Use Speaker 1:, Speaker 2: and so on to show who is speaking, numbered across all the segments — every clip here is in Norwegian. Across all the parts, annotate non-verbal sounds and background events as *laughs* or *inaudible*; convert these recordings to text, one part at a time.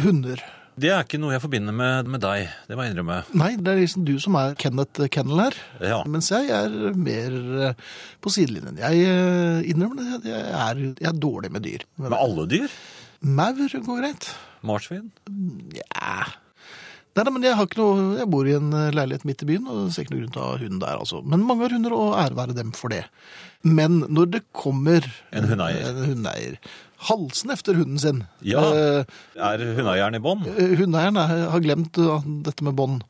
Speaker 1: hunder.
Speaker 2: Det er ikke noe jeg forbinder med, med deg, det må jeg innrømme.
Speaker 1: Nei, det er liksom du som er Kenneth Kennel her.
Speaker 2: Ja.
Speaker 1: Mens jeg er mer eh, på sidelinjen. Jeg eh, innrømmer det, jeg er, jeg er dårlig med dyr.
Speaker 2: Med alle dyr?
Speaker 1: Maur går greit.
Speaker 2: Marsvin?
Speaker 1: Ja. Nei, nei, men jeg, har ikke noe, jeg bor i en eh, leilighet midt i byen, og ser ikke noen grunn til å ha hund der. altså. Men mange har hunder, og ære være dem for det. Men når det kommer
Speaker 2: En hundeeier.
Speaker 1: en hundeeier, halsen efter hunden sin
Speaker 2: Ja.
Speaker 1: Eh,
Speaker 2: Er hundeeieren i bånd?
Speaker 1: Eh, Hundeeieren er- har glemt uh, dette med bånd.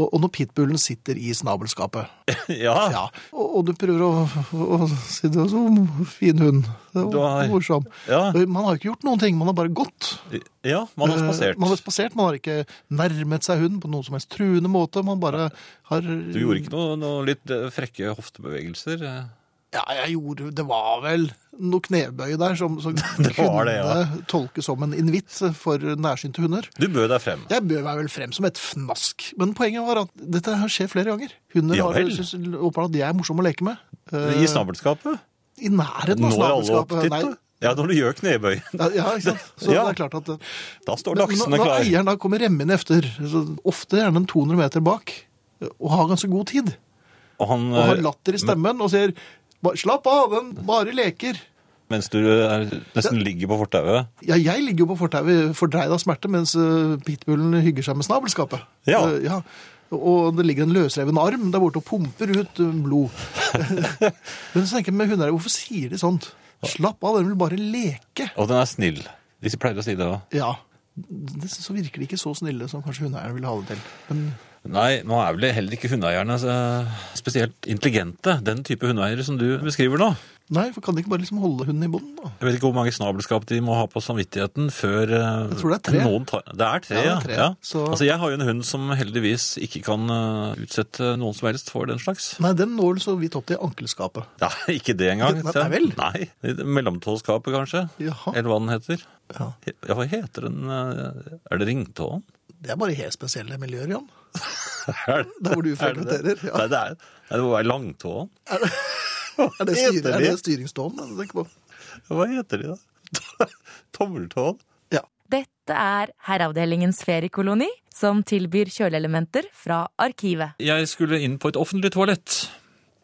Speaker 1: Og, og når pitbullen sitter i snabelskapet,
Speaker 2: *laughs* Ja.
Speaker 1: ja. og, og du prøver å, å, å si det var så fin hund, det
Speaker 2: Du har-
Speaker 1: var morsom.
Speaker 2: Ja.
Speaker 1: Og Man har ikke gjort noen ting, man har bare gått.
Speaker 2: ja, man har
Speaker 1: Eh,
Speaker 2: spasert.
Speaker 1: Man har spasert, man har ikke nærmet seg hunden på noen som helst truende måte. Man bare har
Speaker 2: Du gjorde ikke noe, noe litt eh, frekke hoftebevegelser? eh?
Speaker 1: Ja, jeg gjorde Det var vel noe knebøy der som, som
Speaker 2: var
Speaker 1: kunne
Speaker 2: *laughs* det, ja.
Speaker 1: tolkes som en invitt for nærsynte hunder.
Speaker 2: Du bød deg frem.
Speaker 1: Jeg bød meg vel frem som et fnask. Men poenget var at dette her skjer flere ganger. Hunder
Speaker 2: Ja
Speaker 1: har
Speaker 2: vel.
Speaker 1: synes åpenbart at de er morsomme å leke med. Eh,
Speaker 2: I snabelskapet?
Speaker 1: I nærheten av
Speaker 2: Når alle opp
Speaker 1: snabelskapet.
Speaker 2: dit, da? Ja, når du gjør knebøy.
Speaker 1: Ja, ja, ikke sant? Så
Speaker 2: Ja.
Speaker 1: det er klart at
Speaker 2: *laughs* Da står
Speaker 1: Men
Speaker 2: laksene
Speaker 1: når, når
Speaker 2: klare.
Speaker 1: eieren da kommer remmende efter, så ofte gjerne en 200 meter bak, og har ganske god tid,
Speaker 2: Og han,
Speaker 1: og har
Speaker 2: eh,
Speaker 1: latter i stemmen og sier «Ba- Slapp av, den bare leker.
Speaker 2: mens du eh, nesten ligger på fortauet.
Speaker 1: Ja, jeg ligger jo på fortauet fordreid av smerte, mens eh, pitbullen hygger seg med snabelskapet.
Speaker 2: Ja.
Speaker 1: Eh, ja. Og det ligger en løsreven arm der borte og pumper ut eh,
Speaker 2: *laughs*
Speaker 1: blod. Men så tenker jeg med hundeeiere, hvorfor sier de sånt? Slapp av, den vil bare leke.
Speaker 2: Og den er snill. De pleier å si det òg.
Speaker 1: Ja. Det, så virker de ikke så snille som kanskje hundeeierne vil ha det til. Men
Speaker 2: Nei, nå er vel heller ikke hundeeierne eh, spesielt intelligente. Den type hundeeiere som du beskriver nå.
Speaker 1: nei, for kan de ikke bare liksom holde hunden i bånden, da?
Speaker 2: Jeg vet ikke hvor mange snabelskap de må ha på samvittigheten før Jeg
Speaker 1: tror det er tre.
Speaker 2: Noen tar... Det er tre,
Speaker 1: Ja, det
Speaker 2: ja.
Speaker 1: er tre.
Speaker 2: ja.
Speaker 1: Så-
Speaker 2: Altså, jeg har jo en hund som heldigvis ikke kan eh, utsette noen som helst for den slags.
Speaker 1: Nei, den når vel så vidt opp til ankelskapet.
Speaker 2: Nei, ikke det engang.
Speaker 1: Nei, nei vel.
Speaker 2: Nei, det- Mellomtåskapet, kanskje?
Speaker 1: Jaha.
Speaker 2: Eller hva den heter.
Speaker 1: Ja.
Speaker 2: He- Ja, hva heter den? eh, Er
Speaker 1: *laughs*
Speaker 2: det ringtåen?
Speaker 1: Det er bare helt spesielle miljøer, Jan.
Speaker 2: Er det-
Speaker 1: Der hvor du
Speaker 2: er det det?
Speaker 1: frekventerer, ja.
Speaker 2: Nei, det er, nei, det må være langtåen.
Speaker 1: Er det,
Speaker 2: Heter
Speaker 1: styr, er
Speaker 2: de?
Speaker 1: det styringståen? da du tenker på?
Speaker 2: Hva heter de, da? *laughs* Tommeltåen?
Speaker 1: Ja.
Speaker 3: Dette er Herreavdelingens feriekoloni, som tilbyr kjøleelementer fra arkivet.
Speaker 2: Jeg skulle inn på et offentlig toalett.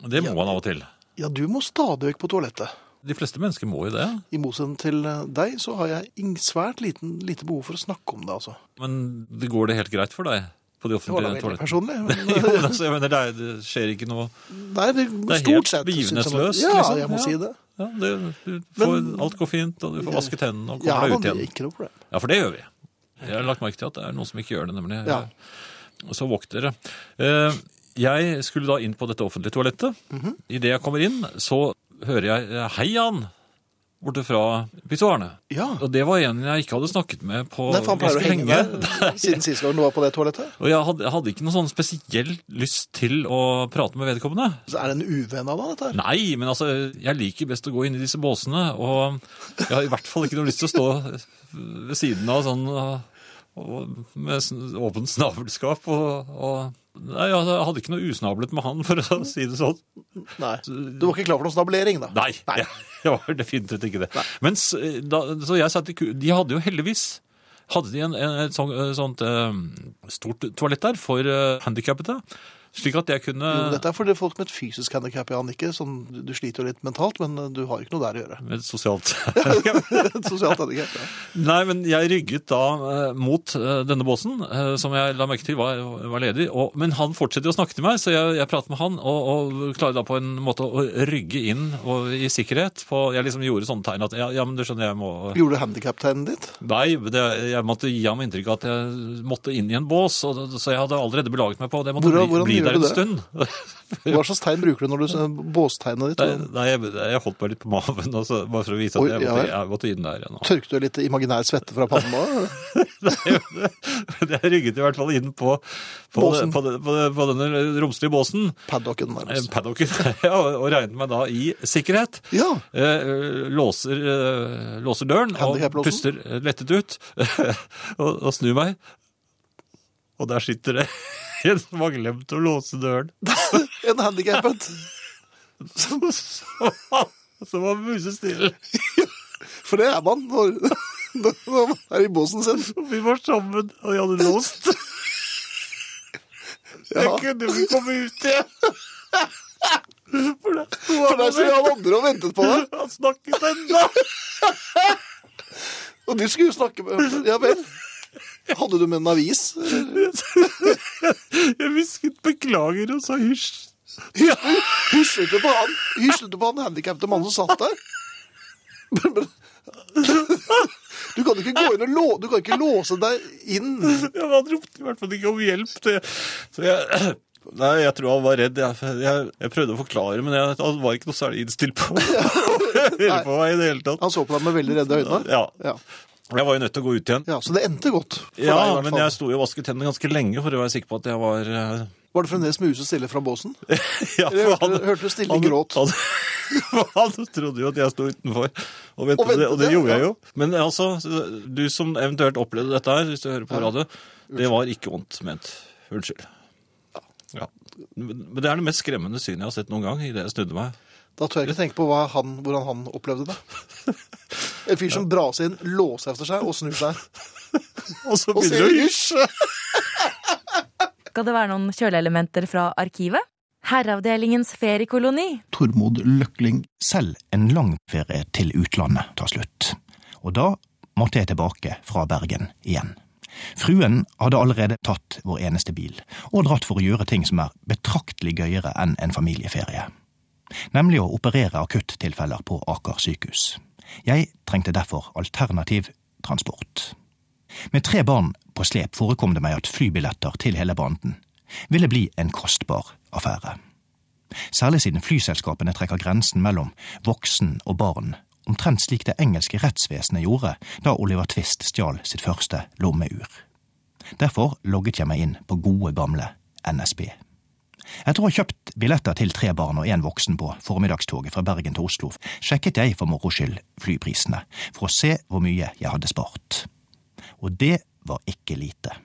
Speaker 2: Og Det må man av og til.
Speaker 1: ja, du må stadig vekk på toalettet.
Speaker 2: De fleste mennesker må jo det.
Speaker 1: I motsetning til eh, deg, så har jeg ing- svært liten, lite behov for å snakke om det, altså.
Speaker 2: Men det går det helt greit for deg på de
Speaker 1: Det var da
Speaker 2: offentlige *laughs*
Speaker 1: veldig
Speaker 2: toalettene?
Speaker 1: personlig.
Speaker 2: Jo,
Speaker 1: men- eh,
Speaker 2: men altså, jeg mener, det, er, det skjer ikke noe
Speaker 1: Nei, det,
Speaker 2: Det er
Speaker 1: stort
Speaker 2: helt
Speaker 1: sett. synes jeg- sånn-
Speaker 2: begivenhetsløst.
Speaker 1: Ja,
Speaker 2: liksom.
Speaker 1: jeg må si det.
Speaker 2: Ja, det du får,
Speaker 1: Men-
Speaker 2: alt går fint, og du får vasket hendene
Speaker 1: Ja,
Speaker 2: og kommer deg
Speaker 1: men
Speaker 2: ut
Speaker 1: det er
Speaker 2: igjen.
Speaker 1: ikke noe problem.
Speaker 2: Ja, for det gjør vi. Jeg har lagt merke til at det er noen som ikke gjør det, nemlig.
Speaker 1: Ja.
Speaker 2: Og så vokter det. Eh, Jeg skulle da inn på dette offentlige toalettet.
Speaker 1: Mhm.
Speaker 2: Idet jeg kommer inn, så hører jeg eh, 'Hei, Jan!' borte fra pissoarene.
Speaker 1: Ja.
Speaker 2: Og det var en jeg ikke hadde snakket med på
Speaker 1: Nei, for han pleier å
Speaker 2: ganske
Speaker 1: henge
Speaker 2: lenge.
Speaker 1: der *laughs* siden sist gang du var på det toalettet.
Speaker 2: Og jeg hadde, jeg hadde ikke noe sånn spesiell lyst til å prate med vedkommende.
Speaker 1: Så er det en uvenn av deg, dette her?
Speaker 2: Nei, men altså, jeg liker best å gå inn i disse båsene, og jeg har i hvert fall ikke noe lyst til å stå ved siden av sånn og, med sånn åpent snabelskap. Og, og, nei, jeg hadde ikke noe usnablet med han, for å si det sånn.
Speaker 1: Nei. Du var ikke klar for noen snablering, da?
Speaker 2: Nei, Jeg, jeg var definitivt ikke det. Men s- da, så jeg satt i ku, de hadde jo heldigvis hadde de en, en, et sånt, sånt eh, stort toalett der for uh, handikappede, slik at jeg kunne
Speaker 1: Jo, Mm, dette er for det folk med et fysisk handikap, Jan. Ikke sånn, du- du sliter jo litt mentalt, men eh, du har ikke noe der å gjøre. *laughs*
Speaker 2: med et sosialt
Speaker 1: Et sosialt handikap. Ja.
Speaker 2: Nei, men jeg rygget da eh, mot eh, denne båsen, eh, som jeg la merke til var, var ledig. Og, men han fortsetter jo å snakke til meg, så jeg, jeg prater med han og, og klarer da på en måte å rygge inn og, i sikkerhet. På, jeg liksom gjorde sånne tegn at ja, ja, men du skjønner, jeg må
Speaker 1: Gjorde du handikaptegnet ditt?
Speaker 2: Nei, det, jeg måtte gi ham inntrykk av at jeg måtte inn i en bås, og, så jeg hadde allerede belaget meg på det. Jeg måtte
Speaker 1: Hvordan-
Speaker 2: bli,
Speaker 1: hvordan
Speaker 2: bli
Speaker 1: gjør
Speaker 2: der
Speaker 1: du
Speaker 2: en
Speaker 1: det?
Speaker 2: stund. *laughs*
Speaker 1: Hva slags tegn bruker du når du båstegnet ditt?
Speaker 2: Nei, nei jeg, jeg holdt meg litt på maven, og så- bare for å vise at
Speaker 1: Oi,
Speaker 2: jeg,
Speaker 1: ja
Speaker 2: måtte,
Speaker 1: vel.
Speaker 2: jeg måtte inn der igjen.
Speaker 1: Tørket du litt imaginær svette fra pannen da?
Speaker 2: *laughs* Men Jeg rygget i hvert fall inn på, på,
Speaker 1: Båsen.
Speaker 2: på, den- på, den- på denne romslige båsen,
Speaker 1: Paddocken
Speaker 2: eh,
Speaker 1: nærmest.
Speaker 2: paddocken, *laughs* ja, og og regnet meg da i sikkerhet.
Speaker 1: Ja.
Speaker 2: Eh, eh, Låser, eh, låser døren og
Speaker 1: Handicap-låsen.
Speaker 2: puster eh, lettet ut *laughs* og, og snur meg. Og der sitter det *laughs* en som har glemt å låse
Speaker 1: *laughs*
Speaker 2: døren.
Speaker 1: En handikappet.
Speaker 2: Som, som, som var musestille.
Speaker 1: For det er man når *laughs* Da var man her i båsen sin.
Speaker 2: Vi var sammen, og jeg hadde låst.
Speaker 1: Ja.
Speaker 2: kunne ikke komme ut
Speaker 1: *laughs*
Speaker 2: igjen. For det sto
Speaker 1: For der sto alle andre og ventet på deg,
Speaker 2: *laughs* Han snakket ennå.
Speaker 1: og du skulle jo snakke med Ja vel. Hadde du med en avis?
Speaker 2: Jeg hvisket 'beklager' og sa 'hysj'.
Speaker 1: Hyslet du på han, hyslet du på han handikappede mannen som satt der? Men- men- Du kan ikke gå inn og lå, du kan ikke låse deg inn.
Speaker 2: Ja, men han ropte i hvert fall ikke om hjelp. Så jeg, så jeg, *clears throat* nei, jeg tror han var redd. Jeg, jeg, jeg prøvde å forklare, men jeg, han var ikke noe særlig innstilt
Speaker 1: *laughs*
Speaker 2: på, på meg i det hele tatt.
Speaker 1: Han så på deg med veldig redde øyne.
Speaker 2: Ja,
Speaker 1: Ja.
Speaker 2: jeg var jo nødt til å gå ut igjen.
Speaker 1: ja, Så det endte godt. For
Speaker 2: Ja,
Speaker 1: deg, sånn. i hvert
Speaker 2: men
Speaker 1: fall.
Speaker 2: jeg sto jo og vasket tennene ganske lenge for å være sikker på at jeg var eh,
Speaker 1: Var det fremdeles muse stille fra båsen?
Speaker 2: *laughs* ja,
Speaker 1: Eller
Speaker 2: for
Speaker 1: hørte, hørte du stille gråt?
Speaker 2: Han, *laughs* han trodde jo at jeg sto utenfor, og, ventet,
Speaker 1: Og ventet,
Speaker 2: det, og det gjorde
Speaker 1: ja.
Speaker 2: jeg jo. Men altså, du som eventuelt opplevde dette her, hvis du hører på radio, det var ikke vondt ment. Unnskyld. Ja. Men det er det mest skremmende synet jeg har sett noen gang, idet jeg snudde meg.
Speaker 1: Da tør jeg ikke tenke på hva han, hvordan han opplevde det. En fyr som braser inn, låser efter seg og snur seg.
Speaker 2: Og så
Speaker 1: Og sier
Speaker 2: begynner du å
Speaker 1: hysj!
Speaker 3: Skal det være noen kjøleelementer fra arkivet? Herreavdelingens feriekoloni.
Speaker 4: Tormod Løkling, selv en lang ferie til utlandet tar slutt. Og da måtte jeg tilbake fra Bergen igjen. Fruen hadde allerede tatt vår eneste bil, og dratt for å gjøre ting som er betraktelig gøyere enn en familieferie. Nemlig å operere akuttilfeller på Aker sykehus. Jeg trengte derfor alternativ transport. Med tre barn på slep forekom det meg at flybilletter til hele banden ville bli en kostbar affære særlig siden flyselskapene trekker grensen mellom voksen og barn, omtrent slik det engelske rettsvesenet gjorde da Oliver Twist stjal sitt første lommeur. Derfor logget jeg meg inn på gode, gamle NSB. Etter å ha kjøpt billetter til tre barn og én voksen på formiddagstoget fra Bergen til Oslo, sjekket jeg for moro skyld flyprisene, for å se hvor mye jeg hadde spart. Og det var ikke lite.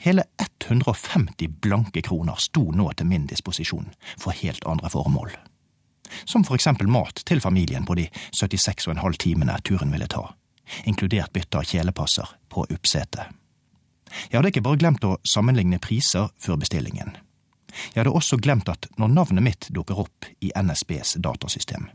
Speaker 4: Hele 150 blanke kroner sto nå til min disposisjon for helt andre formål. Som for eksempel mat til familien på de 76,5 timene turen ville ta, inkludert bytte av kjelepasser på Uppsetet. Jeg hadde ikke bare glemt å sammenligne priser før bestillingen. Jeg hadde også glemt at når navnet mitt dukker opp i NSBs datasystem,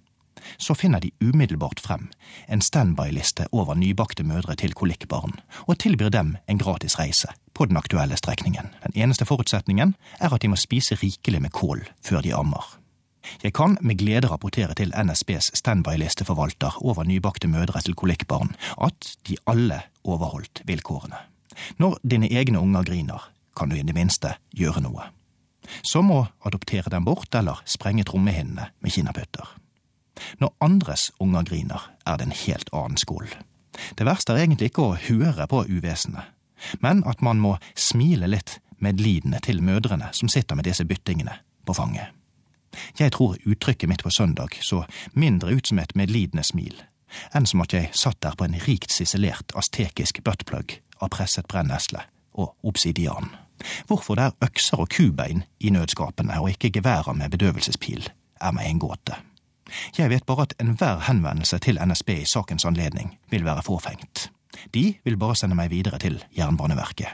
Speaker 4: så finner de umiddelbart frem en standby-liste over nybakte mødre til kolikkbarn, og tilbyr dem en gratis reise på den aktuelle strekningen. Den eneste forutsetningen er at de må spise rikelig med kål før de ammer. Jeg kan med glede rapportere til NSBs standby-listeforvalter over nybakte mødre til kolikkbarn at de alle overholdt vilkårene. Når dine egne unger griner, kan du i det minste gjøre noe. Som å adoptere dem bort eller sprenge trommehinnene med kinaputter. Når andres unger griner, er det en helt annen skål. Det verste er egentlig ikke å høre på uvesenet, men at man må smile litt medlidende til mødrene som sitter med disse byttingene på fanget. Jeg tror uttrykket mitt på søndag så mindre ut som et medlidende smil, enn som at jeg satt der på en rikt siselert aztekisk buttplug av presset brennesle og obsidian. Hvorfor det er økser og kubein i nødskapene og ikke geværer med bedøvelsespil, er meg en gåte. Jeg vet bare at enhver henvendelse til NSB i sakens anledning vil være forfengt. De vil bare sende meg videre til Jernbaneverket.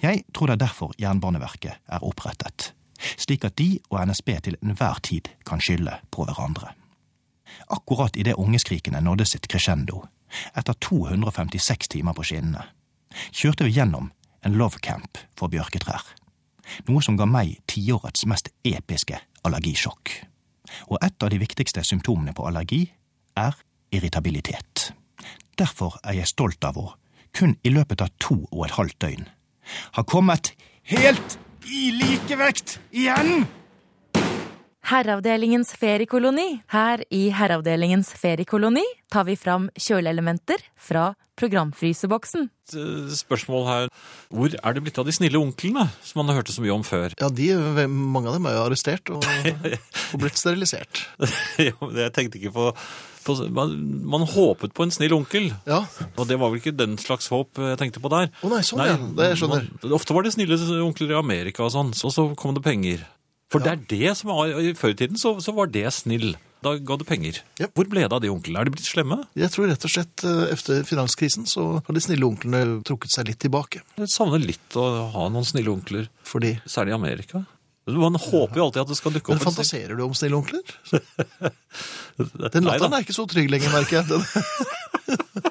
Speaker 4: Jeg tror det er derfor Jernbaneverket er opprettet, slik at de og NSB til enhver tid kan skylde på hverandre. Akkurat idet ungeskrikene nådde sitt crescendo, etter 256 timer på skinnene, kjørte vi gjennom en love camp for bjørketrær, noe som ga meg tiårets mest episke allergisjokk og et av de viktigste symptomene på allergi er irritabilitet. Derfor er jeg stolt av å, kun i løpet av to og et halvt døgn, ha kommet helt i likevekt igjen!
Speaker 3: Herreavdelingens feriekoloni. Her i Herreavdelingens feriekoloni tar vi fram kjøleelementer fra programfryseboksen.
Speaker 2: et eh, spørsmål her. Hvor er det blitt av de snille onklene som man hørte så mye om før? *laughs*
Speaker 1: Ja, de, hvem- mange av dem er jo arrestert og, og blitt sterilisert.
Speaker 2: Ja, men Jeg tenkte ikke på, på man, man håpet på en snill onkel.
Speaker 1: Ja,
Speaker 2: Og det var vel ikke den slags håp eh, jeg tenkte på der.
Speaker 1: Å nei, sånn, ja. Det skjønner.
Speaker 2: man- ofte var det snille onkler i Amerika og sånn, så, så kom det penger. For det er det som var, i før i tiden så, så var det snill. Da ga du penger.
Speaker 1: Ja.
Speaker 2: Hvor ble det av de onklene? Er de blitt slemme?
Speaker 1: Jeg tror rett og slett eh, etter finanskrisen så har de snille onklene trukket seg litt tilbake.
Speaker 2: Jeg savner litt å ha noen snille onkler,
Speaker 1: Fordi
Speaker 2: særlig i Amerika. Man håper jo alltid at det skal dukke
Speaker 1: Men
Speaker 2: opp en
Speaker 1: fantaserer du om snille onkler? Den latteren er ikke så trygg lenger, merker jeg. Den-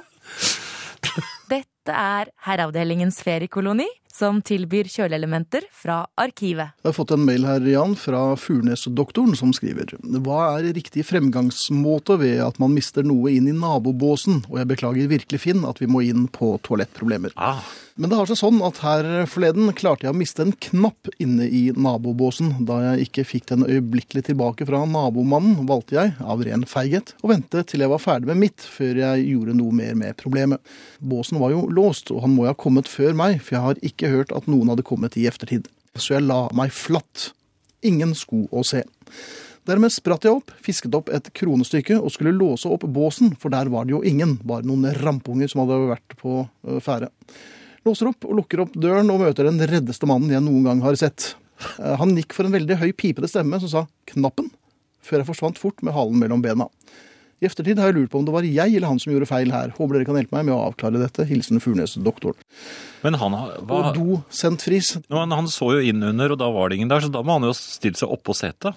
Speaker 3: Dette er Herreavdelingens feriekoloni, som tilbyr kjøleelementer fra arkivet.
Speaker 5: Jeg har fått en mail her, Jan, fra Furnesdoktoren, som skriver Hva er riktig fremgangsmåte ved at man mister noe inn i nabobåsen? Og jeg beklager virkelig, Finn, at vi må inn på toalettproblemer.
Speaker 2: Ah,
Speaker 5: Men det har seg sånn at her forleden klarte jeg å miste en knapp inne i nabobåsen. Da jeg ikke fikk den øyeblikkelig tilbake fra nabomannen, valgte jeg, av ren feighet, å vente til jeg var ferdig med mitt, før jeg gjorde noe mer med problemet. Båsen var jo låst, og han må jo ha kommet før meg, for jeg har ikke hørt at noen hadde kommet i eftertid. Så jeg la meg flatt. Ingen sko å se. Dermed spratt jeg opp, fisket opp et kronestykke og skulle låse opp båsen, for der var det jo ingen, bare noen rampunger som hadde vært på øh, ferde. Låser opp og lukker opp døren og møter den reddeste mannen jeg noen gang har sett. Eh, Han gikk for en veldig høy, pipete stemme som sa 'knappen', før jeg forsvant fort med halen mellom bena. I eftertid har jeg lurt på om det var jeg eller han som gjorde feil her. Håper dere kan hjelpe meg med å avklare dette. Hilsen Furnes-doktoren.
Speaker 2: men han, har- hva,
Speaker 5: Og do sendt fris.
Speaker 2: Nå, han, han så jo inn under, og da var det ingen der, så da må han jo stille seg oppå setet.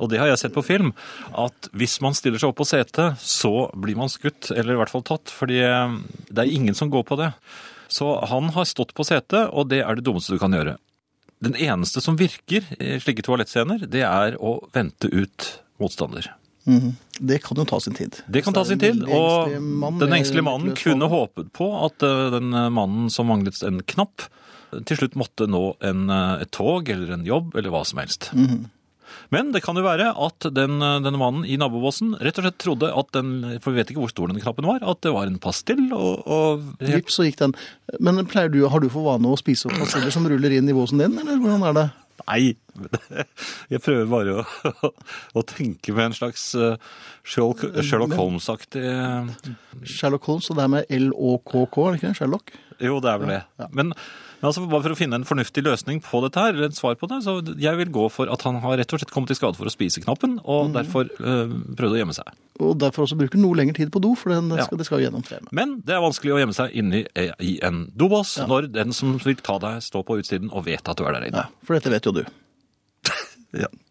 Speaker 2: Og det har jeg sett på film, at hvis man stiller seg oppå setet, så blir man skutt, eller i hvert fall tatt, fordi eh, det er ingen som går på det. Så han har stått på setet, og det er det dummeste du kan gjøre. Den eneste som virker i slike toalettscener, det er å vente ut motstander.
Speaker 5: Mhm. Det kan jo ta sin tid.
Speaker 2: Det kan ta sin tid, og den engstelige mannen kunne håpet på at eh, den eh, mannen som manglet en knapp, eh, til slutt måtte nå en, eh, et tog eller en jobb eller hva som helst. Men det kan jo være at den, eh, denne mannen i nabobåsen rett og slett trodde at den, for vi vet ikke hvor stor den knappen var, at det var en pastill og, og
Speaker 5: Vipp, så gikk den. Men pleier du, har du for vane å spise opp pastiller som ruller inn i båsen din, eller hvordan er det?
Speaker 2: Nei, *laughs* jeg prøver bare å, *laughs* å tenke med en slags eh, Sherlock, Sherlock Holmes-aktig eh,
Speaker 5: Sherlock Holmes, og det er med L-O-K-K, er det ikke det? Sherlock?
Speaker 2: Jo, det er vel det. Men, men altså, bare for å finne en fornuftig løsning på dette her, eller et svar på det, så jeg vil gå for at han har rett og slett kommet i skade for å spise knappen, og derfor øh, prøvde å gjemme seg.
Speaker 5: Og derfor også bruker noe lengre tid på do, for den
Speaker 2: Ja.
Speaker 5: skal, det skal jo gjennom tre med.
Speaker 2: Men det er vanskelig å gjemme seg inni eh, i en dobås når den som vil ta deg, står på utsiden og vet at du er der inne.
Speaker 5: For dette vet jo du.
Speaker 2: *laughs* Ja.